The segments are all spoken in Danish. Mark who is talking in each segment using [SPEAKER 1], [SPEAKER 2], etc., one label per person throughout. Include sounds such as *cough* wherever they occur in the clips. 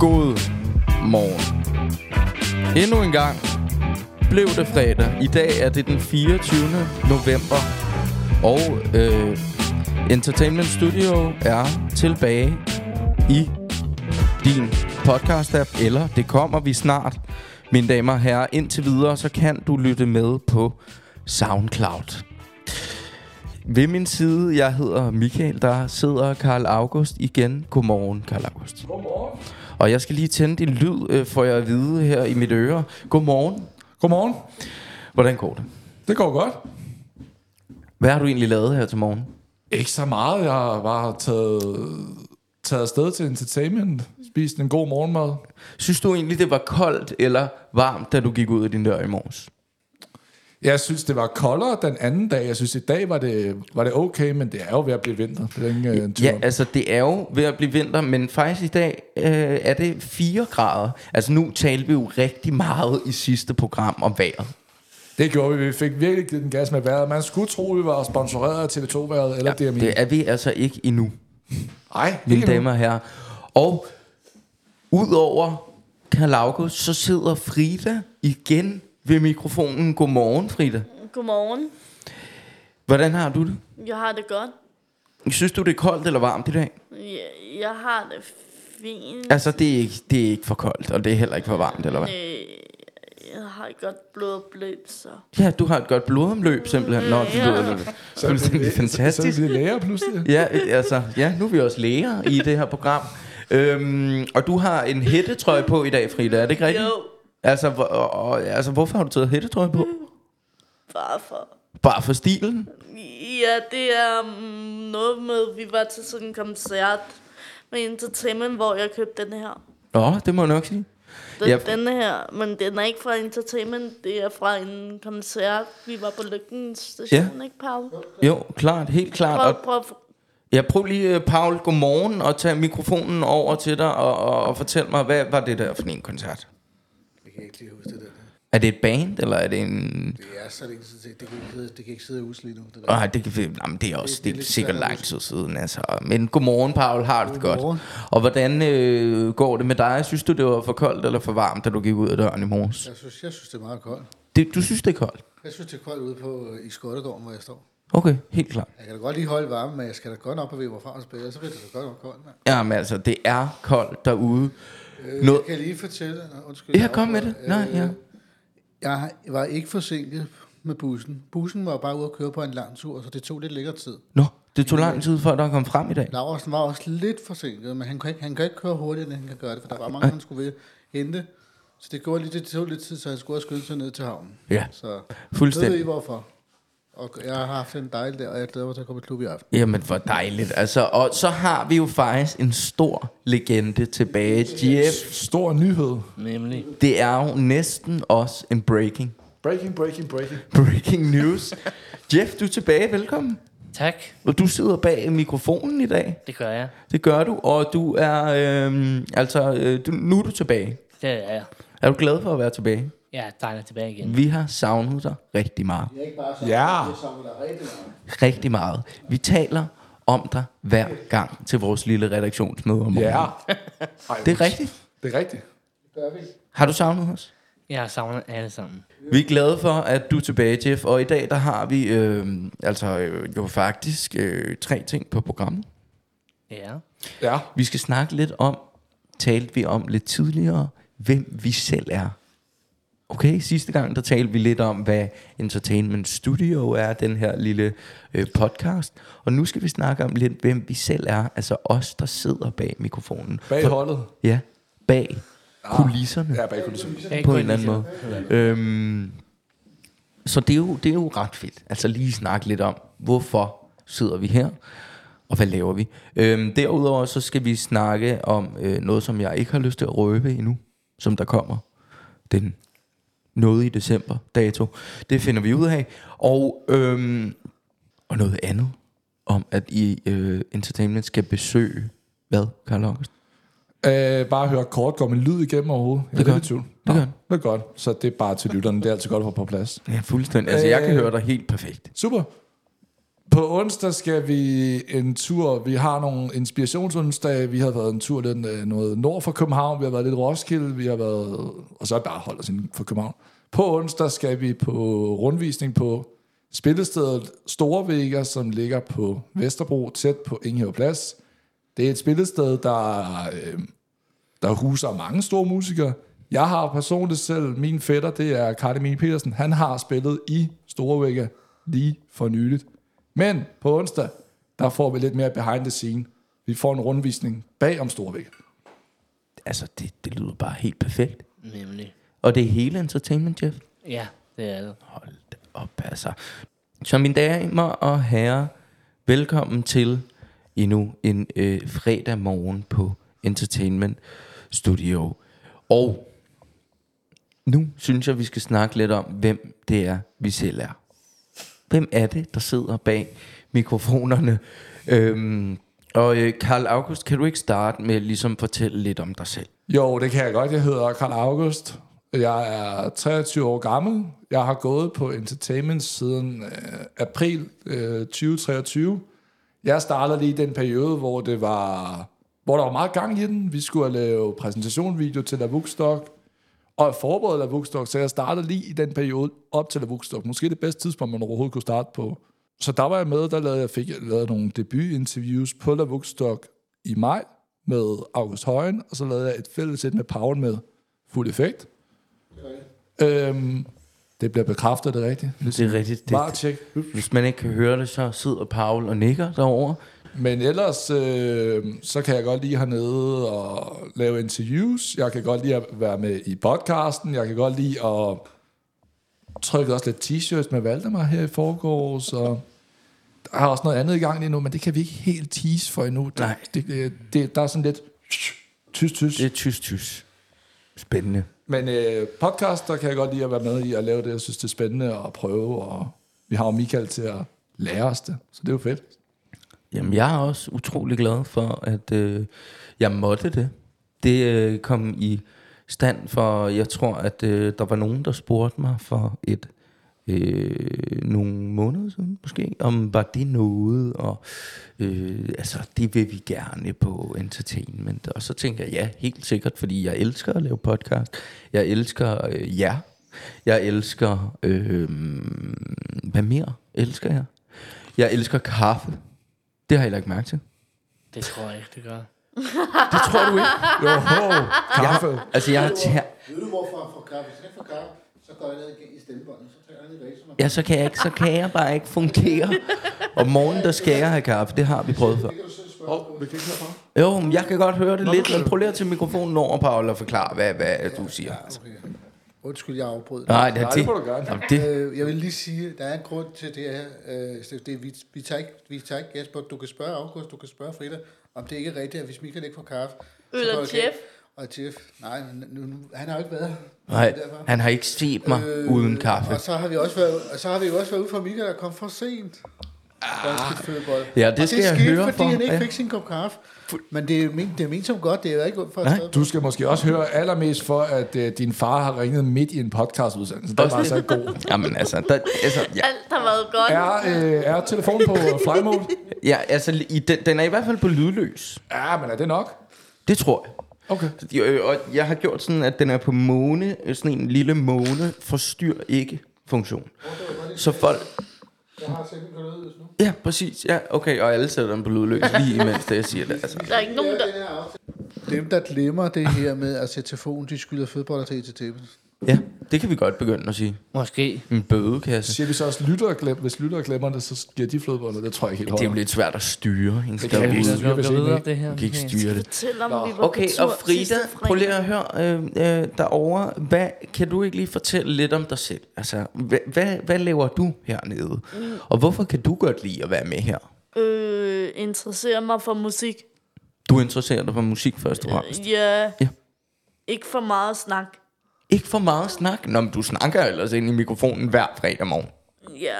[SPEAKER 1] God morgen. Endnu en gang blev det fredag. I dag er det den 24. november. Og øh, Entertainment Studio er tilbage i din podcast-app, eller det kommer vi snart. Mine damer og herrer, indtil videre, så kan du lytte med på SoundCloud. Ved min side, jeg hedder Michael, der sidder Karl August igen. Godmorgen, Karl August. Godmorgen. Og jeg skal lige tænde din lyd, øh, får jeg at vide her i mit øre. Godmorgen.
[SPEAKER 2] Godmorgen.
[SPEAKER 1] Hvordan går det?
[SPEAKER 2] Det går godt.
[SPEAKER 1] Hvad har du egentlig lavet her til morgen?
[SPEAKER 2] Ikke så meget. Jeg har bare taget, taget afsted til entertainment. Spist en god morgenmad.
[SPEAKER 1] Synes du egentlig, det var koldt eller varmt, da du gik ud af din dør i morges?
[SPEAKER 2] Jeg synes, det var koldere den anden dag. Jeg synes, i dag var det, var det okay, men det er jo ved at blive vinter. Det er ingen øh, tvivl
[SPEAKER 1] Ja,
[SPEAKER 2] om.
[SPEAKER 1] altså det er jo ved at blive vinter, men faktisk i dag øh, er det 4 grader. Altså nu talte vi jo rigtig meget i sidste program om vejret.
[SPEAKER 2] Det gjorde vi. Vi fik virkelig givet den gas med vejret. Man skulle tro, vi var sponsoreret af TV2-vejret eller ja, DMI.
[SPEAKER 1] Det er vi altså ikke endnu.
[SPEAKER 2] Nej,
[SPEAKER 1] mine damer og herrer. Og udover Karl August, så sidder Frida igen ved mikrofonen. Godmorgen, Frida.
[SPEAKER 3] Godmorgen.
[SPEAKER 1] Hvordan har du det?
[SPEAKER 3] Jeg har det godt.
[SPEAKER 1] Synes du, det er koldt eller varmt i dag?
[SPEAKER 3] Jeg, jeg har det fint.
[SPEAKER 1] Altså, det er, ikke, det er ikke for koldt, og det er heller ikke for varmt, eller hvad?
[SPEAKER 3] Øh, Jeg har et godt blodbløb, så...
[SPEAKER 1] Ja, du har et godt blodomløb, simpelthen. Nå, det lyder
[SPEAKER 3] Ja.
[SPEAKER 1] ja. fuldstændig
[SPEAKER 2] Så,
[SPEAKER 1] fantastisk.
[SPEAKER 2] så er vi lærer pludselig.
[SPEAKER 1] Ja, øh, altså, ja, nu er vi også læger i det her program. Øhm, og du har en hættetrøje på i dag, Frida, er det ikke rigtigt?
[SPEAKER 3] Jo,
[SPEAKER 1] Altså, hvor, og, og- altså, hvorfor har du taget hættetrøje på?
[SPEAKER 3] bare for...
[SPEAKER 1] Bare for stilen?
[SPEAKER 3] Ja, det er mm, noget med, vi var til sådan en koncert med Entertainment, hvor jeg købte den her.
[SPEAKER 1] Nå, det må jeg nok sige.
[SPEAKER 3] Den,
[SPEAKER 1] Ja.
[SPEAKER 3] ja. Denne her, men den er ikke fra Entertainment, det er fra en koncert. Vi var på Lykkens station, ja. ikke, Paul?
[SPEAKER 1] Jo, klart, helt klart.
[SPEAKER 3] Prøv,
[SPEAKER 1] Og
[SPEAKER 3] prøv,
[SPEAKER 1] jeg prøv lige, øh, Paul, godmorgen, og tag mikrofonen over til dig, og, og, og fortæl mig, hvad var det der for en koncert?
[SPEAKER 4] Jeg kan ikke lige huske det der.
[SPEAKER 1] Er det et band, eller er det en...
[SPEAKER 4] Det er så længe siden, det- det kan ikke sidde, det kan ikke sidde og huske lige nu. Det der.
[SPEAKER 1] Nej, det, kan vi- jamen, det er også
[SPEAKER 4] Det- det
[SPEAKER 1] det
[SPEAKER 4] er
[SPEAKER 1] er
[SPEAKER 4] lidt
[SPEAKER 1] sikkert
[SPEAKER 4] svært at
[SPEAKER 1] lang tid siden, altså. Men godmorgen, Paul, har du det godt?
[SPEAKER 4] Godmorgen.
[SPEAKER 1] Og hvordan øh, går det med dig? Synes du, det var for koldt eller for varmt, da du gik ud af døren i morges?
[SPEAKER 4] Jeg synes, jeg synes, det er meget koldt.
[SPEAKER 1] Det, du synes, det er koldt?
[SPEAKER 4] Jeg synes, det er koldt ude på, øh, i Skottegården, hvor jeg står.
[SPEAKER 1] Okay, helt klart.
[SPEAKER 4] Jeg kan da godt lige holde varmen, men jeg skal da godt op og vide, hvorfra og spille, så bliver det så godt nok koldt. mand.
[SPEAKER 1] Jamen altså, det er koldt derude.
[SPEAKER 4] Øh,
[SPEAKER 1] Noget-
[SPEAKER 4] jeg kan lige fortælle, Nå, undskyld.
[SPEAKER 1] Ja,
[SPEAKER 4] jeg
[SPEAKER 1] kom med det.
[SPEAKER 4] afbryder.
[SPEAKER 1] Nej, ja.
[SPEAKER 4] Jeg har- var ikke forsinket med bussen. Bussen var bare ude at køre på en lang tur, så det tog lidt længere tid.
[SPEAKER 1] Nå, det tog lang tid, før der kom frem i dag.
[SPEAKER 4] Laursen var også lidt forsinket, men han kan ikke, han kan ikke køre hurtigere, end han kan gøre det, for der var mange, han skulle ved hente. Så det, gjorde lige, det tog lidt tid, så han skulle også skynde sig ned til havnen.
[SPEAKER 1] Ja.
[SPEAKER 4] Så
[SPEAKER 1] Fuldstændig.
[SPEAKER 4] Ved I hvorfor? Og jeg har haft en dejlig dag, og jeg glæder mig til at komme i klub i aften.
[SPEAKER 1] Jamen, hvor dejligt. Altså, og så har vi jo faktisk en stor legende tilbage. Jeff,
[SPEAKER 2] Stor nyhed.
[SPEAKER 1] det er jo næsten også en breaking,
[SPEAKER 2] Breaking, breaking, breaking.
[SPEAKER 1] breaking
[SPEAKER 2] *laughs*
[SPEAKER 1] news. Jeff, du er tilbage. Velkommen.
[SPEAKER 5] Tak,
[SPEAKER 1] Og du sidder bag mikrofonen i dag.
[SPEAKER 5] det gør jeg.
[SPEAKER 1] Det gør du, og du er... Øhm, altså, øh, du, nu er du tilbage.
[SPEAKER 5] Det er jeg.
[SPEAKER 1] Er du glad for at være tilbage?
[SPEAKER 5] Jeg er dejligt tilbage igen.
[SPEAKER 1] Vi har savnet dig rigtig meget.
[SPEAKER 4] Det er ikke bare så,
[SPEAKER 2] Ja.
[SPEAKER 4] det samler der rigtig meget.
[SPEAKER 1] Rigtig meget. Vi taler om dig hver gang til vores lille redaktionsmøde om morgenen.
[SPEAKER 2] Ja.
[SPEAKER 1] Det er rigtigt.
[SPEAKER 2] Det er rigtigt.
[SPEAKER 4] Det gør vi.
[SPEAKER 1] Har du savnet os?
[SPEAKER 5] Jeg har savnet alle sammen.
[SPEAKER 1] Vi er glade for, at du er tilbage, Jeff. Og i dag, der har vi øh, altså øh, jo faktisk øh, tre ting på programmet.
[SPEAKER 5] Ja.
[SPEAKER 2] Ja.
[SPEAKER 1] Vi skal snakke lidt om, talte vi om lidt tidligere, hvem vi selv er. Okay, sidste gang, der talte vi lidt om, hvad Entertainment Studio er, den her lille øh, podcast. Og nu skal vi snakke om lidt, hvem vi selv er, altså os, der sidder bag mikrofonen.
[SPEAKER 2] Bag holdet.
[SPEAKER 1] Ja, bag kulisserne
[SPEAKER 2] Ja, bag kulissen.
[SPEAKER 5] Jeg
[SPEAKER 1] på
[SPEAKER 5] kan
[SPEAKER 1] en eller anden
[SPEAKER 5] lide
[SPEAKER 1] måde. Øhm, så det er, jo, det er jo ret fedt. Altså lige snakke lidt om, hvorfor sidder vi her, og hvad laver vi? Øhm, derudover så skal vi snakke om øh, noget, som jeg ikke har lyst til at røbe endnu, som der kommer den noget i december dato. Det finder vi ud af. Og, øhm, og noget andet om, at I øh, Entertainment skal besøge, hvad, Karl August?
[SPEAKER 2] Øh, bare hør kort, går min lyd igennem overhovedet. Jeg
[SPEAKER 1] Det
[SPEAKER 2] er
[SPEAKER 1] gør
[SPEAKER 2] lidt i tvivl.
[SPEAKER 1] Det gør den.
[SPEAKER 2] Det er godt. Så det er bare til lytterne. Det er altid godt at få på plads.
[SPEAKER 1] Ja, fuldstændig. Altså, jeg kan
[SPEAKER 2] Øh.
[SPEAKER 1] høre dig helt perfekt.
[SPEAKER 2] Super. På onsdag skal vi en tur. Vi har nogle inspirationsonsdage. Vi har været en tur lidt øh, noget nord for København. Vi har været lidt Roskilde. Vi har været... Og så bare holdt os inden for København. På onsdag skal vi på rundvisning på spillestedet Store Vega, som ligger på Vesterbro, tæt på Ingehave Plads. Det er et spillested, der, øh, der huser mange store musikere. Jeg har personligt selv, min fætter, det er Carl Emil Petersen, han har spillet i Store Vega lige for nyligt. Men på onsdag, der får vi lidt mere behind the scene. Vi får en rundvisning bag om Store Vega.
[SPEAKER 1] Altså, det, det lyder bare helt perfekt.
[SPEAKER 5] Nemlig.
[SPEAKER 1] Og det er hele entertainment, Jeff.
[SPEAKER 5] Ja, det er det.
[SPEAKER 1] Hold da op, altså. Så mine damer og herrer, velkommen til endnu en øh, fredag morgen på Entertainment Studio. Og nu synes jeg, vi skal snakke lidt om, hvem det er, vi selv er. Hvem er det, der sidder bag mikrofonerne? Øhm, og øh, Karl August, kan du ikke starte med ligesom at fortælle lidt om dig selv?
[SPEAKER 2] Jo, det kan jeg godt. Jeg hedder Karl August. Jeg er 23 år gammel. Jeg har gået på entertainment siden øh, april øh, 2023. Jeg startede lige i den periode, hvor det var, hvor der var meget gang i den. Vi skulle lave præsentationvideo til La Vugstock, og forberede La Vugstock, så jeg startede lige i den periode op til La Vugstock. Måske det bedste tidspunkt, man overhovedet kunne starte på. Så der var jeg med, der lavede jeg, fik jeg lavet nogle debutinterviews på La Vugstock i maj med August Højen, og så lavede jeg et fællesæt med Paul med fuld effekt. Okay. Øhm, det bliver bekræftet, det er rigtigt.
[SPEAKER 1] Det er rigtigt.
[SPEAKER 2] Bare
[SPEAKER 1] Det,
[SPEAKER 2] tjek.
[SPEAKER 1] hvis man ikke kan høre det, så sidder Paul og nikker derovre.
[SPEAKER 2] Men ellers, øh, så kan jeg godt lide hernede og lave interviews. Jeg kan godt lide at være med i podcasten. Jeg kan godt lide at trykke også lidt t-shirts med Valdemar her i forgårs. Og der er også noget andet i gang lige nu, men det kan vi ikke helt tease for endnu. Det,
[SPEAKER 1] Nej.
[SPEAKER 2] Det, det, det, der er sådan lidt tys, tys.
[SPEAKER 1] Det er tysk, tysk. Spændende.
[SPEAKER 2] Men øh, podcaster kan jeg godt lide at være med i og lave det. Jeg synes, det er spændende at prøve, og vi har jo Michael til at lære os det. Så det er jo
[SPEAKER 1] *laughs*
[SPEAKER 2] fedt.
[SPEAKER 1] Jamen, jeg er også utrolig glad for, at øh, jeg måtte det. Det øh, kom i stand for, jeg tror, at øh, der var nogen, der spurgte mig for et øh, nogle måneder siden, måske, om var det noget, og øh, altså, det vil vi gerne på entertainment. Og så tænker jeg, ja, helt sikkert, fordi jeg elsker at lave podcast. Jeg elsker øh, jer. Jeg elsker, øh, hvad mere elsker jeg? Jeg elsker kaffe. Det har jeg lagt mærke til.
[SPEAKER 5] Det tror jeg ikke, det gør.
[SPEAKER 1] Det tror du ikke.
[SPEAKER 2] Jo, ho, kaffe.
[SPEAKER 1] Altså, jeg har tær...
[SPEAKER 4] Ved du, hvorfor for kaffe? Hvis ikke for kaffe, så går jeg ned i stemmebåndet, så tager jeg ned i racer.
[SPEAKER 1] Ja, så kan jeg ikke, så kan jeg bare ikke fungere. Om morgenen, der skal jeg have kaffe. Det har vi prøvet før.
[SPEAKER 4] Det kan du selv spørge. Oh.
[SPEAKER 2] Vi kan ikke høre
[SPEAKER 1] Jo, men jeg kan godt høre det lidt, men prøv lige at tage mikrofonen over, Paul, og forklare, hvad, hvad du siger.
[SPEAKER 4] Okay. Undskyld, jeg afbrød. dig.
[SPEAKER 1] Nej, det er
[SPEAKER 2] Nej,
[SPEAKER 1] det.
[SPEAKER 2] det må du gerne.
[SPEAKER 1] Jamen, det.
[SPEAKER 4] Øh, jeg vil lige sige, der er en grund til det her. Øh, Steff. det er, vi, vi, tager ikke, vi tager ikke gæst på. Du kan spørge August, du kan spørge Frida, om det ikke er rigtigt, at hvis Michael ikke får kaffe... så
[SPEAKER 3] Eller
[SPEAKER 4] går det galt.
[SPEAKER 3] Jeff.
[SPEAKER 4] Og Jeff. Nej, men nu, nu, han har jo ikke været her.
[SPEAKER 1] Nej,
[SPEAKER 4] Det er derfor.
[SPEAKER 1] han har ikke set mig
[SPEAKER 2] Øh,
[SPEAKER 1] uden kaffe.
[SPEAKER 4] Øh, Og så har vi også været, og så har vi jo også været ude for Michael, der kom for sent. Ah,
[SPEAKER 1] Ja, det skal
[SPEAKER 4] og det
[SPEAKER 1] jeg
[SPEAKER 4] skete,
[SPEAKER 1] høre
[SPEAKER 4] fordi
[SPEAKER 1] for,
[SPEAKER 4] han ikke
[SPEAKER 1] ja.
[SPEAKER 4] fik sin kop kaffe. Men det er, men, det er ment som godt, det er jo ikke ondt for at
[SPEAKER 1] Nej,
[SPEAKER 4] stå på.
[SPEAKER 2] Du skal måske også høre allermest for, at øh, din far har ringet midt i en podcastudsendelse. Den var
[SPEAKER 1] Også
[SPEAKER 2] altså
[SPEAKER 1] det.
[SPEAKER 2] god.
[SPEAKER 1] Jamen, altså, der, altså ja,
[SPEAKER 3] Alt har været godt.
[SPEAKER 2] Er, øh, er telefonen på flymode?
[SPEAKER 1] *laughs* ja, altså i den, den er i hvert fald på lydløs.
[SPEAKER 2] Ja, men er det nok?
[SPEAKER 1] Det tror jeg.
[SPEAKER 2] Okay.
[SPEAKER 1] Øh, Og jeg har gjort sådan, at den er på måne, øh, sådan en lille måne, forstyr ikke funktion. Så folk...
[SPEAKER 4] Jeg har selv gået ud nu.
[SPEAKER 1] Ja, præcis. Ja, okay, og alle sætter den på lydløs lige imens det, jeg siger det. Altså.
[SPEAKER 3] Der er ikke nogen, der...
[SPEAKER 4] Dem, der glemmer det her med at sætte telefonen, de skylder fodbold og til tæppet.
[SPEAKER 1] Ja, det kan vi godt begynde at sige.
[SPEAKER 5] Måske.
[SPEAKER 1] En bødekasse.
[SPEAKER 2] Siger vi så også, lytter glem, hvis lytter glemmer det, så giver de flødebåndet. Det tror jeg ikke helt
[SPEAKER 1] Det er jo
[SPEAKER 2] holder.
[SPEAKER 1] lidt svært at styre. Ikke?
[SPEAKER 2] Det
[SPEAKER 1] Det
[SPEAKER 2] kan
[SPEAKER 1] kan
[SPEAKER 2] vi
[SPEAKER 1] vi ikke.
[SPEAKER 2] ikke. styre,
[SPEAKER 5] Jeg skal
[SPEAKER 2] hvis
[SPEAKER 5] gå
[SPEAKER 2] en
[SPEAKER 5] videre
[SPEAKER 2] ikke-
[SPEAKER 5] det her.
[SPEAKER 1] Vi kan ikke
[SPEAKER 5] Okay.
[SPEAKER 1] styre det.
[SPEAKER 3] Fortæl om, vi var
[SPEAKER 1] Okay,
[SPEAKER 3] på tur
[SPEAKER 1] og Frida,
[SPEAKER 3] sidste fredag.
[SPEAKER 1] prøv lige at høre øh, øh, derovre. Hvad, kan du ikke lige fortælle lidt om dig selv? Altså, hvad, hvad, hvad laver du hernede? Og hvorfor kan du godt lide at være med her?
[SPEAKER 3] Øh, interesserer mig for musik.
[SPEAKER 1] Du interesserer dig for musik først og fremmest.
[SPEAKER 3] Ja.
[SPEAKER 1] Ja.
[SPEAKER 3] Ikke for meget snak.
[SPEAKER 1] Ikke for meget snak. Nå, men du snakker ellers ind i mikrofonen hver fredag morgen.
[SPEAKER 3] Ja.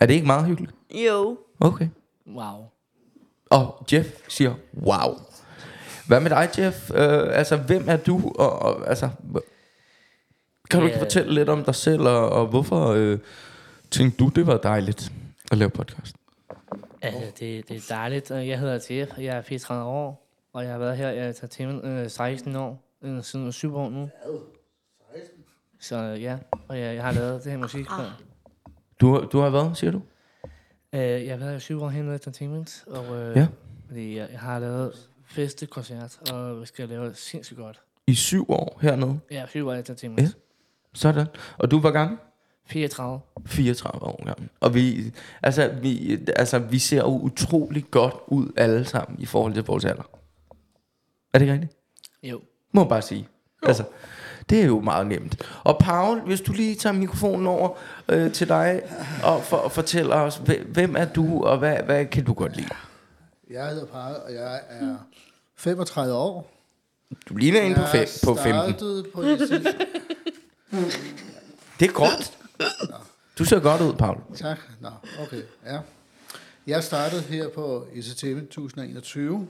[SPEAKER 1] Er det ikke meget hyggeligt?
[SPEAKER 3] Jo.
[SPEAKER 1] Okay.
[SPEAKER 5] Wow.
[SPEAKER 1] Og Jeff siger, wow. Hvad med dig, Jeff? Øh, altså, hvem er du? Og, og, altså, hv- kan du ikke
[SPEAKER 5] Ja.
[SPEAKER 1] fortælle lidt om dig selv, og, og hvorfor øh, tænkte du, det var dejligt at lave podcast?
[SPEAKER 5] Altså, det, det er dejligt. Øh, Jeg hedder Jeff, jeg er 34 år, og jeg har været her i Entertainment øh, 16 år, øh, siden 7 år nu. Så øh, ja, og jeg, jeg har lavet det her musik før.
[SPEAKER 1] Du, har- du har hvad, siger du?
[SPEAKER 5] Øh, jeg har været her i 7 år her i Entertainment, og øh,
[SPEAKER 1] Ja.
[SPEAKER 5] fordi jeg, jeg har lavet festekoncert, og vi skal lave det sindssygt godt.
[SPEAKER 1] I syv år hernede.
[SPEAKER 5] Ja, 7 år i Entertainment.
[SPEAKER 1] Ja. Sådan. Og du var gammel?
[SPEAKER 5] 34.
[SPEAKER 1] 34 år gammel. Og vi, altså, vi, altså, vi ser jo utrolig godt ud alle sammen i forhold til vores alder. Er det ikke rigtigt?
[SPEAKER 5] Jo.
[SPEAKER 1] Må jeg bare sige. Jo. Altså, det er jo meget nemt. Og Paul, hvis du lige tager mikrofonen over øh, til dig og for, fortæller os, hvem, hvem er du, og hvad, hvad kan du godt lide?
[SPEAKER 4] Jeg hedder Parre, og jeg er 35 år.
[SPEAKER 1] Du ligner en på,
[SPEAKER 4] Jeg
[SPEAKER 1] fem, på 15.
[SPEAKER 4] startede på E SI.
[SPEAKER 1] Det er godt. Du ser godt ud, Paul.
[SPEAKER 4] Tak. Nå, okay. Ja. Jeg startede her på E ECTV 2021.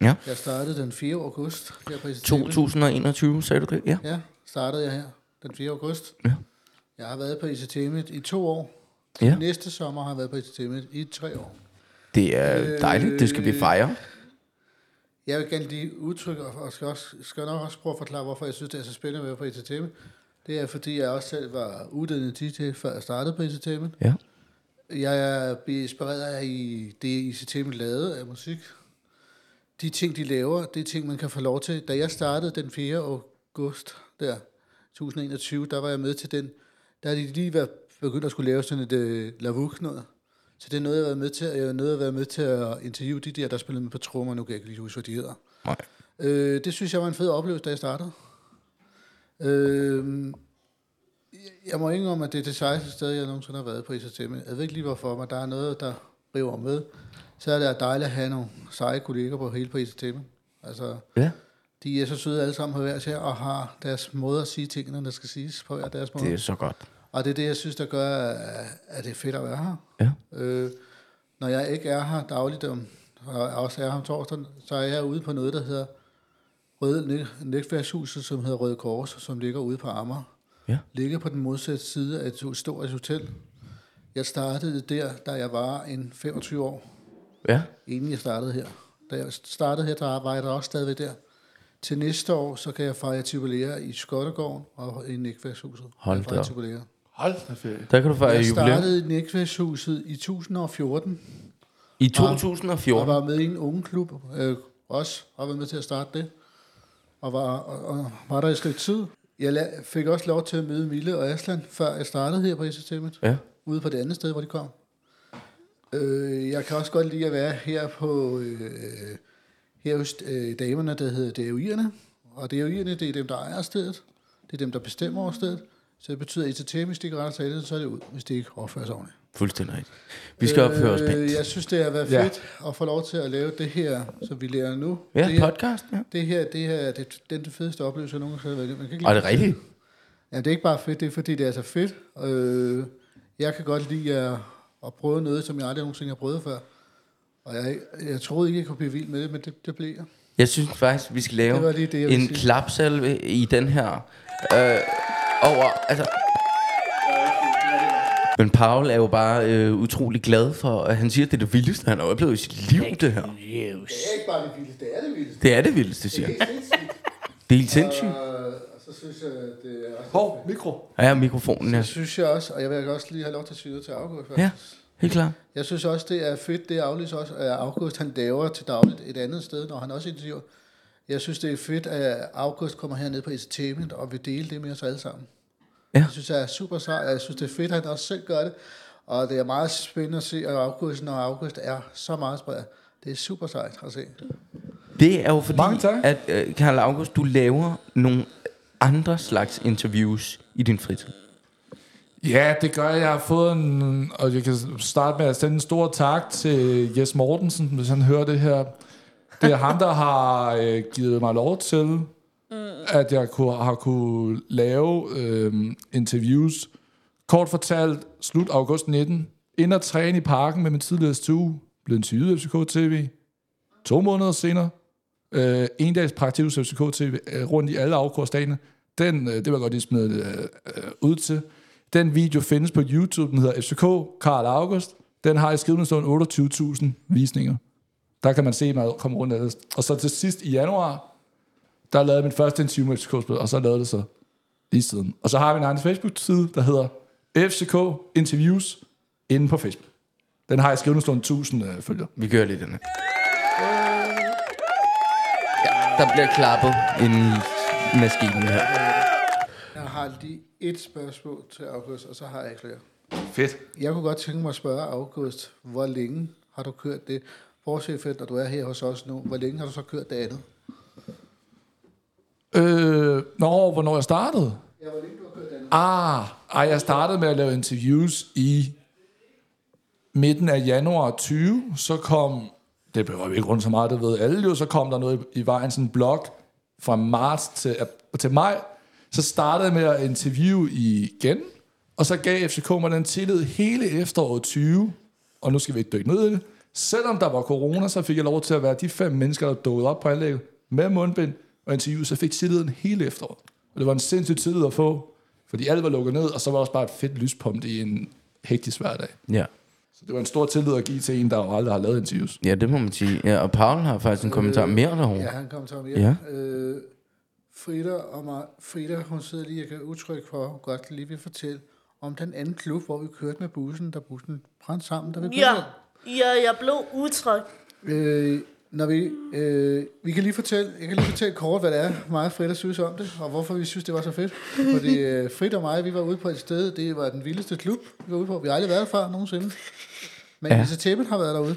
[SPEAKER 1] Ja.
[SPEAKER 4] Jeg startede den 4. august her på ECTV.
[SPEAKER 1] 2021, sagde du det? Ja.
[SPEAKER 4] Ja, startede jeg her den 4. august.
[SPEAKER 1] Ja.
[SPEAKER 4] Jeg har været på ECTV i to år.
[SPEAKER 1] ja.
[SPEAKER 4] Næste sommer har jeg været på ECTV i tre år.
[SPEAKER 1] Det er dejligt. Det skal vi fejre.
[SPEAKER 4] Jeg vil gerne lige udtrykke, og skal, også, skal nok også prøve at forklare, hvorfor jeg synes, det er så spændende at være på ECTM. Det er, fordi jeg også selv var uddannet DJ, før jeg startede på ECTM.
[SPEAKER 1] Ja.
[SPEAKER 4] Jeg bliver inspireret af i det, ECTM lavede af musik. De ting, de laver, det er ting, man kan få lov til. Da jeg startede den 4. august der, 2021, der var jeg med til den. Der havde de lige været begyndt at skulle lave sådan et øh, lavuk noget. Så det er noget, jeg har været med til. Jeg er noget, jeg har været med til at interviewe de der, der spillede med på trommer. Nu kan jeg ikke lige huske, hvad de hedder.
[SPEAKER 1] Nej.
[SPEAKER 4] Øh, det synes jeg var en fed oplevelse, da jeg startede. Øh, jeg- jeg må ikke om, at det er det sejeste sted, jeg nogensinde har været på ICTM. Jeg ved ikke lige hvorfor, men der er noget, der river med. Så er det dejligt at have nogle seje kolleger på hele på ICTM. Altså,
[SPEAKER 1] Ja.
[SPEAKER 4] de er så søde alle sammen på hver især, og har deres måde at sige tingene, der skal siges på hver deres måde.
[SPEAKER 1] Det er så godt.
[SPEAKER 4] Og det er det, jeg synes, der gør, at- at det er fedt at være her.
[SPEAKER 1] Ja.
[SPEAKER 4] Øh, når jeg ikke er her dagligt, om- og også er her om torsdagen, så er jeg ude på noget, der hedder Røde Næ- Netværkshuset, som hedder Røde Kors, som ligger ude på Amager.
[SPEAKER 1] Ja.
[SPEAKER 4] Ligger på den modsatte side af et historisk hotel. Jeg startede der, da jeg var en 25 år,
[SPEAKER 1] Ja.
[SPEAKER 4] inden jeg startede her. Da jeg startede her, der var jeg der også stadigvæk der. Til næste år, så kan jeg fejre et jubilæer i Skottegården og i Nætværkshuset.
[SPEAKER 1] Hold
[SPEAKER 4] Jeg
[SPEAKER 1] da
[SPEAKER 4] fejrer et
[SPEAKER 1] op.
[SPEAKER 4] jubilæer.
[SPEAKER 2] Hold da fedt.
[SPEAKER 1] Der kan du fejre
[SPEAKER 4] Jeg
[SPEAKER 1] jubilæum.
[SPEAKER 4] startede i Nætværkshuset i 2014.
[SPEAKER 1] I
[SPEAKER 4] Ah. Og
[SPEAKER 1] 2014.
[SPEAKER 4] var med i en ungklub øh, også, og var med til at starte det. Og var, og, og var der i et stykke tid. Jeg la- fik også lov til at møde Mille og Aslan, før jeg startede her på systemet
[SPEAKER 1] Ja.
[SPEAKER 4] ude på det andet sted, hvor de kom. Øh, jeg kan også godt lide at være her på øh, her hos øh, damerne, der hedder DAU'erne. Og DAU'erne, det er dem, der ejer stedet. Det er dem, der bestemmer over stedet. Så det betyder, at ITT, hvis de ikke retter sig i det, så er det ud, hvis de ikke opfører sig ordentligt.
[SPEAKER 1] Fuldstændig rigtigt. Vi
[SPEAKER 4] Øh,
[SPEAKER 1] skal opføre os pænt.
[SPEAKER 4] Jeg synes, det har været
[SPEAKER 2] Ja.
[SPEAKER 4] fedt at få lov til at lave det her, som vi lærer nu.
[SPEAKER 1] Ja,
[SPEAKER 4] det, her,
[SPEAKER 1] podcast. Ja.
[SPEAKER 4] det her, det her det, det er den fedeste oplevelse, jeg nogensinde har været. i. Man kan ikke
[SPEAKER 1] Og er det rigtigt?
[SPEAKER 4] Ja, det er ikke bare fedt, det er fordi, det er så fedt. Øh, jeg kan godt lide at, at prøve noget, som jeg aldrig nogensinde har prøvet før. Og jeg, jeg troede ikke, jeg kunne blive vild med det, men det, det blev jeg.
[SPEAKER 1] Jeg synes faktisk, vi skal
[SPEAKER 4] Det var
[SPEAKER 1] lave
[SPEAKER 4] lige det, jeg ville
[SPEAKER 1] en
[SPEAKER 4] sige.
[SPEAKER 1] klapsalve i den her. Øh, over, altså... Men Paul er jo bare øh, utrolig glad for, at han siger, at det er det vildeste, han har oplevet i sit liv, det her.
[SPEAKER 5] Yes.
[SPEAKER 4] Det er ikke bare det vildeste, det er det vildeste.
[SPEAKER 1] Det er det vildeste, siger han. Det er helt *laughs* sindssygt.
[SPEAKER 4] Og så synes jeg, det er også...
[SPEAKER 2] Hov, mikro.
[SPEAKER 1] Ja, mikrofonen
[SPEAKER 4] Jeg
[SPEAKER 1] er.
[SPEAKER 4] synes jeg også, og jeg vil også lige have lov til at sige noget til August.
[SPEAKER 1] Ja, helt klart.
[SPEAKER 4] Jeg synes også, det er fedt, det August også, at August han laver til dagligt et andet sted, når han også interviewer. Jeg synes, det er fedt, at August kommer herned på Entertainment og vil dele det med os alle sammen.
[SPEAKER 1] Ja.
[SPEAKER 4] Jeg synes, det er super sejt, og jeg synes, det er fedt, at han også selv gør det. Og det er meget spændende at se, at August, når August er så meget spredt. Det er super sejt at se.
[SPEAKER 1] Det er jo fordi,
[SPEAKER 2] Mange tak.
[SPEAKER 1] at øh, Karl August, du laver nogle andre slags interviews i din fritid.
[SPEAKER 2] Ja, det gør jeg. Jeg har fået en... Og jeg kan starte med at sende en stor tak til Jes Mortensen, hvis han hører det her. Det er ham, der har øh, givet mig lov til, at jeg kunne, har kunne lave øh, interviews. Kort fortalt, slut august 19, ind og træne i parken med min tidligere stue, blev interviewet af FCK TV. To måneder senere, øh, en dags praktik hos FCK TV, øh, rundt i alle afkursdagene. Den, øh, det var jeg godt lige smide øh, øh, ud til. Den video findes på YouTube, den hedder FCK Karl August. Den har i skrivende stund 28.000 visninger. Der kan man se mig komme rundt af det. Og så til sidst i januar, der lavede jeg min første en 20 minutters kortspil, og så lavede det så lige siden. Og så har vi en egen Facebook-side, der hedder FCK Interviews inde på Facebook. Den har i skrivende stund 1000 øh, følgere.
[SPEAKER 1] Vi kører lige den her. Ja, der bliver klappet inde i maskinen her.
[SPEAKER 4] Jeg har lige et spørgsmål til August, og så har jeg ikke flere.
[SPEAKER 2] Fedt.
[SPEAKER 4] Jeg kunne godt tænke mig at spørge August, hvor længe har du kørt det? Bortset fra, når du er her hos os nu, hvor længe har du så kørt det andet?
[SPEAKER 2] Øh, nå, hvornår jeg startede?
[SPEAKER 4] Ja, hvor længe du har kørt det andet?
[SPEAKER 2] Ah, ej, jeg startede med at lave interviews i midten af januar 20. Så kom, det behøver vi ikke rundt så meget, det ved alle jo, så kom der noget i, i vejen, sådan en blog fra marts til, ap- til maj. Så startede jeg med at interviewe igen, og så gav FCK mig den tillid hele efteråret 20. Og nu skal vi ikke dykke ned i det. Selvom der var corona, så fik jeg lov til at være de fem mennesker, der dukkede op på anlægget med mundbind og interview, så fik tilliden hele efteråret. Og det var en sindssyg tillid at få, fordi alt var lukket ned, og så var også bare et fedt lyspunkt i en hektisk hverdag.
[SPEAKER 1] Ja.
[SPEAKER 2] Så det var en stor tillid at give til en, der jo aldrig har lavet interviews.
[SPEAKER 1] ja, det må man sige. Ja, og Paul har faktisk en kommentar mere
[SPEAKER 4] Øh, Ja,
[SPEAKER 1] derovre.
[SPEAKER 4] han kom til ham
[SPEAKER 1] Ja.
[SPEAKER 4] hjem. Ja. Øh, Frida, og mig, Frida, hun sidder lige og gør udtryk for, at hun godt lige vil fortælle om den anden klub, hvor vi kørte med bussen, der bussen brændte sammen, der vi
[SPEAKER 3] Ja, ja jeg blev utryg.
[SPEAKER 4] Øh, når vi, øh, vi kan lige fortælle, jeg kan lige fortælle kort, hvad det er, mig og Frida synes om det, og hvorfor vi synes, det var så fedt. Fordi øh, Frida og mig, vi var ude på et sted, det var den vildeste klub, vi var ude på. Vi har aldrig været der før nogensinde. Men ja. Lisa Tæppen har været derude.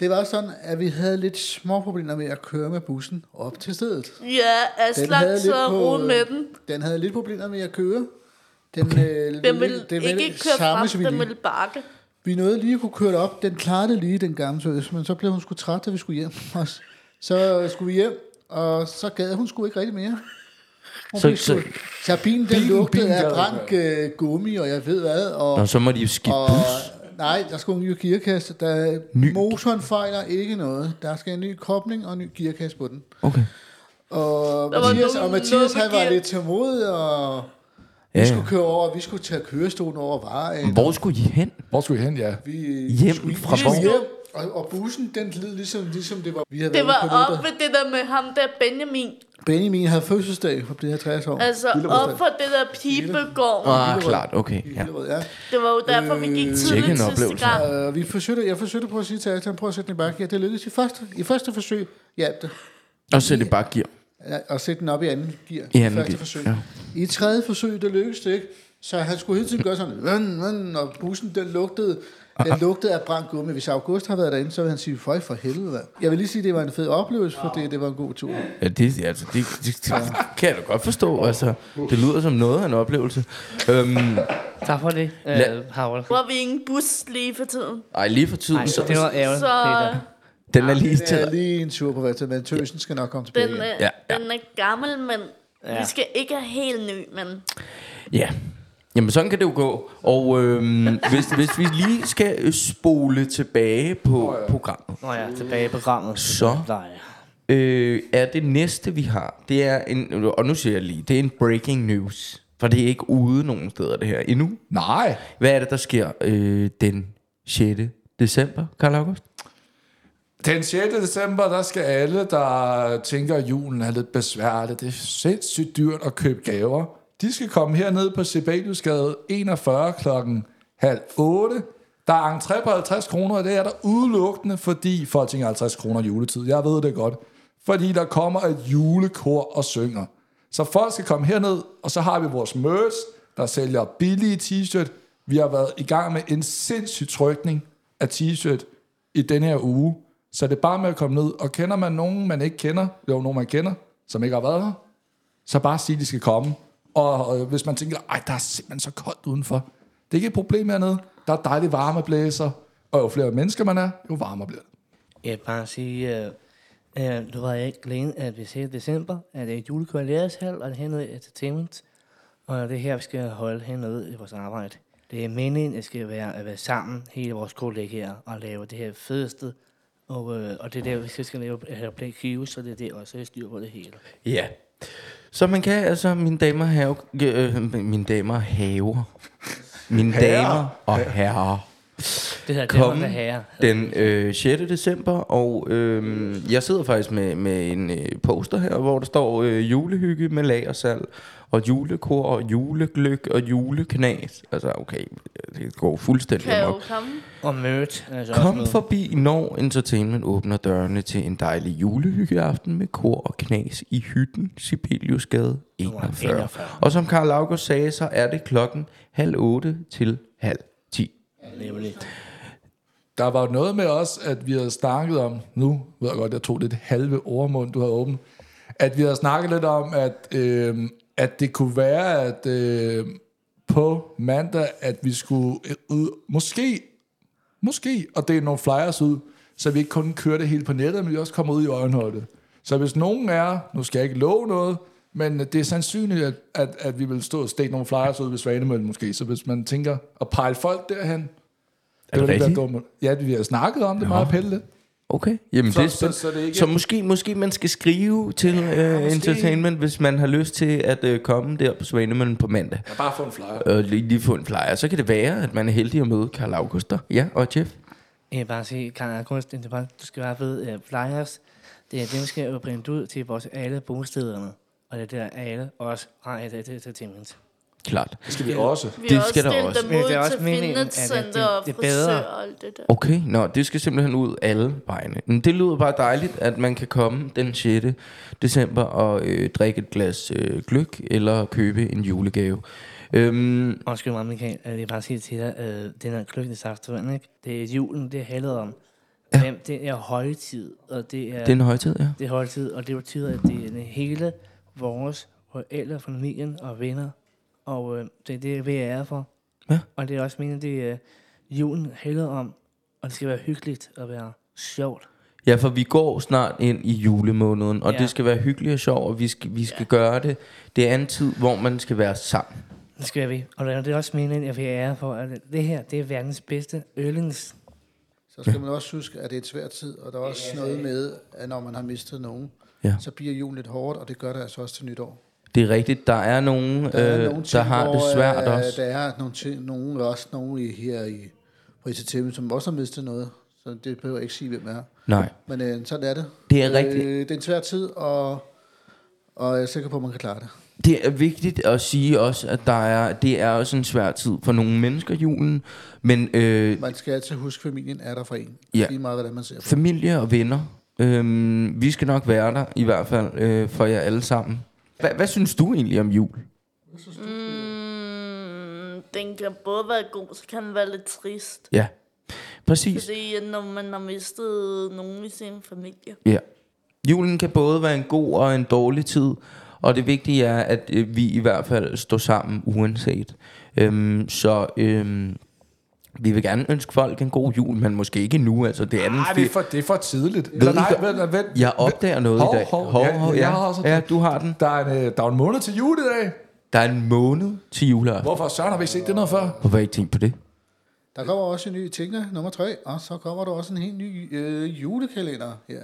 [SPEAKER 4] Det var sådan, at vi havde lidt små problemer med at køre med bussen op til stedet.
[SPEAKER 3] Ja, Aslan så roede
[SPEAKER 1] øh,
[SPEAKER 3] med den.
[SPEAKER 4] øh, Den havde lidt problemer med at køre. Den, okay. øh,
[SPEAKER 3] Den ville ikke køre frem,
[SPEAKER 4] som vi
[SPEAKER 3] den
[SPEAKER 4] lige-
[SPEAKER 3] ville bakke.
[SPEAKER 4] vi nåede lige at kunne køre det op. Den klarede det lige, den gamle service, men så blev hun sgu træt, da vi skulle hjem. *laughs* Og s- så øh, skulle vi hjem, og så gad hun sgu ikke rigtig mere. Hun
[SPEAKER 1] Så-
[SPEAKER 4] så, så,
[SPEAKER 1] så-
[SPEAKER 4] så bilen, den
[SPEAKER 2] Bilen-
[SPEAKER 4] lugtede
[SPEAKER 2] bilen gad
[SPEAKER 4] af
[SPEAKER 2] ikke
[SPEAKER 4] brændt øh, gummi, og jeg ved hvad. Og,
[SPEAKER 1] Nå, så må de jo skifte
[SPEAKER 4] og,
[SPEAKER 1] bus.
[SPEAKER 4] Nej, der skal en ny gearkasse. Der,
[SPEAKER 1] Ny-
[SPEAKER 4] motoren fejler ikke noget. Der skal en ny kobling og en ny gearkasse på den.
[SPEAKER 1] Okay.
[SPEAKER 4] Og
[SPEAKER 3] Der var
[SPEAKER 4] Mathias,
[SPEAKER 3] nogen-
[SPEAKER 4] og Mathias
[SPEAKER 3] noget med
[SPEAKER 4] han var
[SPEAKER 3] gear.
[SPEAKER 4] lidt tålmodig, og vi
[SPEAKER 1] Ja.
[SPEAKER 4] skulle køre over, vi skulle tage kørestolen over vejen.
[SPEAKER 1] Hvor skulle I hen?
[SPEAKER 2] Hvor skulle I hen, ja?
[SPEAKER 4] Vi
[SPEAKER 1] Hjem fra
[SPEAKER 4] vi
[SPEAKER 1] hvor?
[SPEAKER 4] hjem, og, og bussen, den led ligesom, ligesom det var. Vi havde
[SPEAKER 3] Det
[SPEAKER 4] været
[SPEAKER 3] var
[SPEAKER 4] ude på noget,
[SPEAKER 3] op ved det der med ham der Benjamin.
[SPEAKER 4] der- Benjamin havde fødselsdag for det her 60 år.
[SPEAKER 3] Altså op for det der pibegård.
[SPEAKER 1] Ah, klart, okay.
[SPEAKER 4] ja.
[SPEAKER 1] Ja.
[SPEAKER 4] ja.
[SPEAKER 3] Det var jo derfor, vi gik
[SPEAKER 1] Sikke en
[SPEAKER 3] tidligt sidste
[SPEAKER 1] oplevelse.
[SPEAKER 3] gang.
[SPEAKER 4] Uh, vi forsøgte, jeg forsøgte på at sige til Altan, prøv at sætte den i bakken. Ja, det lykkedes i første, i første forsøg. Hjalp det.
[SPEAKER 1] Og så er det bare gear.
[SPEAKER 4] Ja, Og sætte den op i anden gear.
[SPEAKER 1] I anden
[SPEAKER 4] første
[SPEAKER 1] gear,
[SPEAKER 4] forsøg.
[SPEAKER 1] ja.
[SPEAKER 4] I tredje forsøg, det lykkedes det ikke. Så han skulle hele tiden gøre sådan, vøn, vøn, og bussen, den lugtede,
[SPEAKER 1] Ah,
[SPEAKER 4] den lugtede af brændt gummi. Hvis August har været derinde, så vil han sige, føj for helvede. mand." Jeg vil lige sige, at det var en fed oplevelse, for det, det var en god tur.
[SPEAKER 1] Ja, det, altså, det, det, det kan jeg da godt forstå. Altså, det lyder som noget af en oplevelse. Øhm,
[SPEAKER 5] Tak for det,
[SPEAKER 1] Lad-
[SPEAKER 5] øh, Paul.
[SPEAKER 3] Nu har vi ingen bus lige for tiden.
[SPEAKER 1] ej, lige for
[SPEAKER 5] Nej,
[SPEAKER 1] tiden. Så,
[SPEAKER 5] det var ærgerligt,
[SPEAKER 3] Så
[SPEAKER 5] Peter.
[SPEAKER 1] den er lige
[SPEAKER 4] Det er
[SPEAKER 1] til dig.
[SPEAKER 4] lige en tur på vej til, men tøsen skal nok komme tilbage.
[SPEAKER 3] den,
[SPEAKER 4] igen.
[SPEAKER 3] er,
[SPEAKER 1] Ja,
[SPEAKER 3] ja,
[SPEAKER 1] ja.
[SPEAKER 3] ja. den er gammel, men ja. vi
[SPEAKER 5] Ja.
[SPEAKER 3] skal ikke have helt ny. Men
[SPEAKER 1] Ja. Jamen, sådan kan det jo gå. Og øhm, hvis, hvis vi lige skal øh, spole tilbage på oh, ja. programmet.
[SPEAKER 5] Nå ja, tilbage i programmet.
[SPEAKER 1] Så.
[SPEAKER 5] Nej.
[SPEAKER 1] øh, er det næste, vi har, det er en, og nu siger jeg lige, det er en breaking news, for det er ikke ude nogen steder, det her endnu.
[SPEAKER 2] Nej.
[SPEAKER 1] Hvad er det, der sker øh, den 6. december, Karl August?
[SPEAKER 2] Den 6. december, der skal alle, der tænker, at julen er lidt besværlig, det er sindssygt dyrt at købe gaver, de skal komme herned på Sibeliusgade 41 klokken halv 8. Der er entré på 50 kroner, og det er der udelukkende, fordi folk tænker 50 kroner juletid. Jeg ved det godt. Fordi der kommer et julekor og synger. Så folk skal komme herned, og så har vi vores merch, der sælger billige t-shirt. Vi har været i gang med en sindssyg trykning af t-shirt i denne her uge. Så det er bare med at komme ned, og kender man nogen, man ikke kender, jo nogen, man kender, som ikke har været her, så bare sig, de skal komme. Og, og hvis man tænker, ej, der er simpelthen så koldt udenfor. Det er ikke et problem hernede. Der er dejlige varmeblæser, og jo flere mennesker man er, jo varmere bliver det.
[SPEAKER 5] Jeg vil bare sige, øh, øh, du var ikke glemme, at vi ser i december, at det er julekører i Lærershal, og det er hernede i entertainment. Og det er her, vi skal holde hernede i vores arbejde. Det er meningen, at skal være at være sammen, hele vores kollegaer, og lave det her fedeste. Og, øh, og det er der, vi skal- skal lave, have Black Hughes, så det er der også, jeg styr på det hele.
[SPEAKER 1] Ja. Så man kan altså, mine damer og have, øh, mine damer og haver, mine damer og herrer,
[SPEAKER 5] Det hedder Danmark
[SPEAKER 1] komme
[SPEAKER 5] der herre.
[SPEAKER 1] den øh, 6. december, og øh, jeg sidder faktisk med, med en øh, poster her, hvor der står øh, julehygge med lagersalg, og julekor, og julegløk, og juleknas. Altså, okay, det går fuldstændig
[SPEAKER 3] Kan
[SPEAKER 1] amok.
[SPEAKER 3] jo komme.
[SPEAKER 5] Og mødt. Altså også
[SPEAKER 1] Kom
[SPEAKER 5] med.
[SPEAKER 1] forbi, når Entertainment åbner dørene til en dejlig julehyggeaften med kor og knas i hytten Sibeliusgade 41.
[SPEAKER 5] 41.
[SPEAKER 1] Og som Karl August sagde, så er det klokken halv otte til halv ti.
[SPEAKER 5] Nemlig.
[SPEAKER 2] Der var jo noget med os, at vi havde snakket om, nu ved jeg godt, jeg tog lidt halve ordmund, du havde åbent, at vi havde snakket lidt om, at, øh, at det kunne være, at øh, på mandag, at vi skulle øh, ud, måske, måske, og det er nogle flyers ud, så vi ikke kun kører det hele på nettet, men vi også kommer ud i øjenhøjde. Så hvis nogen er, nu skal jeg ikke love noget, men det er sandsynligt, at, at, at vi vil stå og stikke nogle flyers ud ved Svanemøllen måske. Så hvis man tænker at pege folk derhen,
[SPEAKER 1] Er det
[SPEAKER 2] var der
[SPEAKER 1] rigtigt?
[SPEAKER 2] dumme. Ja, vi har snakket om det meget pille.
[SPEAKER 1] Okay, jamen
[SPEAKER 2] Så-
[SPEAKER 1] det er
[SPEAKER 2] så-
[SPEAKER 1] spændende.
[SPEAKER 2] så det er ikke-
[SPEAKER 1] så måske, måske man skal skrive til ja, uh,
[SPEAKER 2] måske.
[SPEAKER 1] Entertainment, hvis man har lyst til at uh, komme der på Svanemøllen på mandag.
[SPEAKER 2] Jeg bare få en flyer.
[SPEAKER 1] Og lige, lige få en flyer. Så kan det være, at man er heldig at møde Karl August der. Ja, og Jeff.
[SPEAKER 5] Jeg vil Øh, bare sige, Karl August, det er bare- du skal bare vide, uh, flyers, det er dem, der skal jo brændt ud til vores alle bostederne. Og det er der alle også har et et entertainment.
[SPEAKER 1] Klart.
[SPEAKER 2] Det skal vi også.
[SPEAKER 3] Vi
[SPEAKER 1] Det
[SPEAKER 3] har
[SPEAKER 1] skal der
[SPEAKER 3] stillet
[SPEAKER 1] også.
[SPEAKER 3] dem
[SPEAKER 5] Men det er
[SPEAKER 3] ud
[SPEAKER 5] også
[SPEAKER 3] til
[SPEAKER 5] meningen, at det-
[SPEAKER 3] fitnesscenter og
[SPEAKER 5] det er bedre.
[SPEAKER 3] frisør og alt det der.
[SPEAKER 1] Okay, nå, det skal simpelthen ud alle vejene. Men det lyder bare dejligt, at man kan komme den 6. december og øh, drikke et glas øh, gløk eller købe en julegave. Øhm,
[SPEAKER 5] Undskyld mig, Michael, øh, jeg vil bare sige til dig, øh, den her kløkkesaftøjen, ikke? Det er julen, det handler om. Hvem, det er højtid, og det er,
[SPEAKER 1] det er en højtid, ja.
[SPEAKER 5] det er højtid, og det betyder, at det er den hele vores forældre, familien og venner. Og øh, det er det, vi er for.
[SPEAKER 1] Ja.
[SPEAKER 5] Og det er også meningen, det er julen handler om, og det skal være hyggeligt og være sjovt.
[SPEAKER 1] Ja, for vi går snart ind i julemåneden, og ja.
[SPEAKER 5] Ja.
[SPEAKER 1] det skal være hyggeligt og sjovt, og vi skal, vi skal ja. gøre det. Det er en tid, hvor man skal være sammen.
[SPEAKER 5] Det skal vi. Og det er også meningen, at vi er for, at det her, det er verdens bedste yndlings.
[SPEAKER 4] Så skal man også huske, at det er en svær tid, og der er også noget med, at når man har mistet nogen,
[SPEAKER 1] Ja.
[SPEAKER 4] så bliver julen lidt hårdt, og det gør det altså også til nytår.
[SPEAKER 1] Det er rigtigt, der er nogen, der, er øh,
[SPEAKER 4] nogle
[SPEAKER 1] der
[SPEAKER 4] ting,
[SPEAKER 1] har det
[SPEAKER 4] hvor,
[SPEAKER 1] svært
[SPEAKER 4] øh,
[SPEAKER 1] også.
[SPEAKER 4] Der er nogle ting, nogen, også nogen i, her i på ICTM, som også har mistet noget. Så det behøver jeg ikke sige, hvem er.
[SPEAKER 1] Nej,
[SPEAKER 4] Men øh, sådan er det.
[SPEAKER 1] Det er rigtigt.
[SPEAKER 4] Øh, det er en svær tid, og, og jeg er sikker på, at man kan klare det.
[SPEAKER 1] det er vigtigt at sige også, at der er, det er også en svær tid for nogle mennesker julen, men øh,
[SPEAKER 4] Man skal altid huske, at familien er der for en.
[SPEAKER 1] Ja.
[SPEAKER 4] Lige meget, hvordan man ser på det.
[SPEAKER 1] familie og venner, øh, vi skal nok være der i hvert fald øh, for jer alle sammen. Hva, hvad synes du egentlig om jul?
[SPEAKER 3] Mm, den kan både være god, så kan den være lidt trist.
[SPEAKER 1] Ja, præcis.
[SPEAKER 3] Fordi at når man har mistet nogen i sin familie.
[SPEAKER 1] Ja. Julen kan både være en god og en dårlig tid, og det vigtige er, at øh, vi i hvert fald står sammen uanset. Øhm, så øhm, vi vil gerne ønske folk en god jul, men måske ikke nu, altså det er den
[SPEAKER 2] Nej, det er for, det er for tidligt. Ved
[SPEAKER 1] I
[SPEAKER 2] nej,
[SPEAKER 1] godt-
[SPEAKER 2] vent, vent.
[SPEAKER 1] Jeg opdager noget
[SPEAKER 2] Hov,
[SPEAKER 1] i dag.
[SPEAKER 2] hov,
[SPEAKER 1] hov,
[SPEAKER 2] ja,
[SPEAKER 1] hov,
[SPEAKER 2] jeg
[SPEAKER 1] ja.
[SPEAKER 2] har også-
[SPEAKER 1] ja, du har den.
[SPEAKER 2] Der er, en, øh, der er en måned til jul i dag.
[SPEAKER 1] Der er en måned til juleaften.
[SPEAKER 2] Hvorfor søren har vi ikke set det noget før?
[SPEAKER 1] Hvorfor har I ikke tænkt på det?
[SPEAKER 4] Der kommer også en ny Tinga nummer 3, og så kommer der også en helt ny øh, julekalender her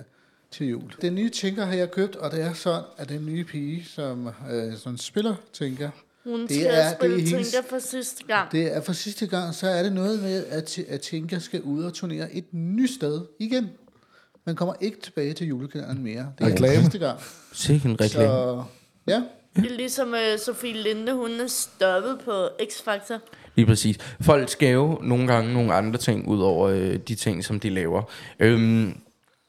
[SPEAKER 4] til jul. Den nye Tinga har jeg købt, og det er sådan, at den nye pige, som, øh, som spiller Tinga,
[SPEAKER 3] Hun
[SPEAKER 4] Det
[SPEAKER 3] det skal
[SPEAKER 4] er- det
[SPEAKER 3] er,
[SPEAKER 4] er
[SPEAKER 3] spille
[SPEAKER 4] hendes-
[SPEAKER 3] tænker for sidste gang.
[SPEAKER 4] det er for sidste gang, så er det noget med, at, Ti- at Tinka skal ud og turnere et nyt sted igen. Man kommer ikke tilbage til julekalenderen mere. Det er
[SPEAKER 2] Reklame.
[SPEAKER 4] sidste gang.
[SPEAKER 1] Sikke en reklame. Så...
[SPEAKER 4] Så ja,
[SPEAKER 3] Det er ligesom øh, Sofie Linde, hun er stoppet på X-Factor.
[SPEAKER 1] Lige præcis. Folk skal jo nogle gange nogle andre ting, ud over øh, de ting, som de laver. Øhm,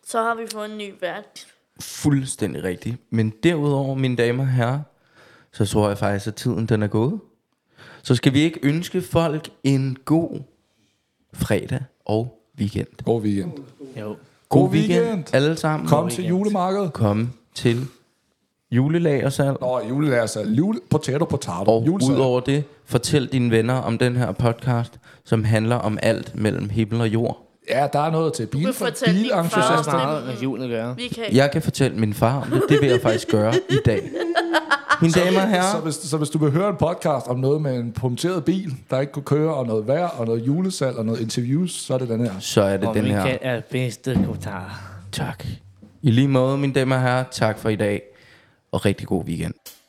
[SPEAKER 3] Så har vi fået en ny vært.
[SPEAKER 1] Fuldstændig rigtigt. Men derudover, mine damer og herrer, så tror jeg faktisk, at tiden den er gået. Så skal vi ikke ønske folk en god fredag og weekend.
[SPEAKER 2] God weekend.
[SPEAKER 5] Jo.
[SPEAKER 2] God weekend.
[SPEAKER 1] alle sammen.
[SPEAKER 2] Kom til julemarkedet.
[SPEAKER 1] Kom til julelagersalg.
[SPEAKER 2] Nå, jule er altså jule, potato potato.
[SPEAKER 1] Og
[SPEAKER 2] Julesalg.
[SPEAKER 1] udover det, fortæl dine venner om den her podcast, som handler om alt mellem himmel og jord.
[SPEAKER 2] Ja, der er noget til bil,
[SPEAKER 3] kan fortælle din
[SPEAKER 5] Det er
[SPEAKER 2] bilentusiaster.
[SPEAKER 5] også meget med julen at gøre.
[SPEAKER 3] Vi kan
[SPEAKER 1] Jeg kan fortælle min far om det. Det vil jeg faktisk gøre i dag.
[SPEAKER 2] *laughs*
[SPEAKER 1] Mine damer og herrer.
[SPEAKER 2] Så hvis, så hvis du vil høre en podcast om noget med en punkteret bil, der ikke kunne køre, og noget vejr, og noget julesalg, og noget interviews, så er det den her.
[SPEAKER 1] Så er det
[SPEAKER 5] Og
[SPEAKER 1] den her.
[SPEAKER 5] Michael er bedste kommentar.
[SPEAKER 1] Tak. I lige måde, mine damer og herrer. Tak for i dag, og rigtig god weekend.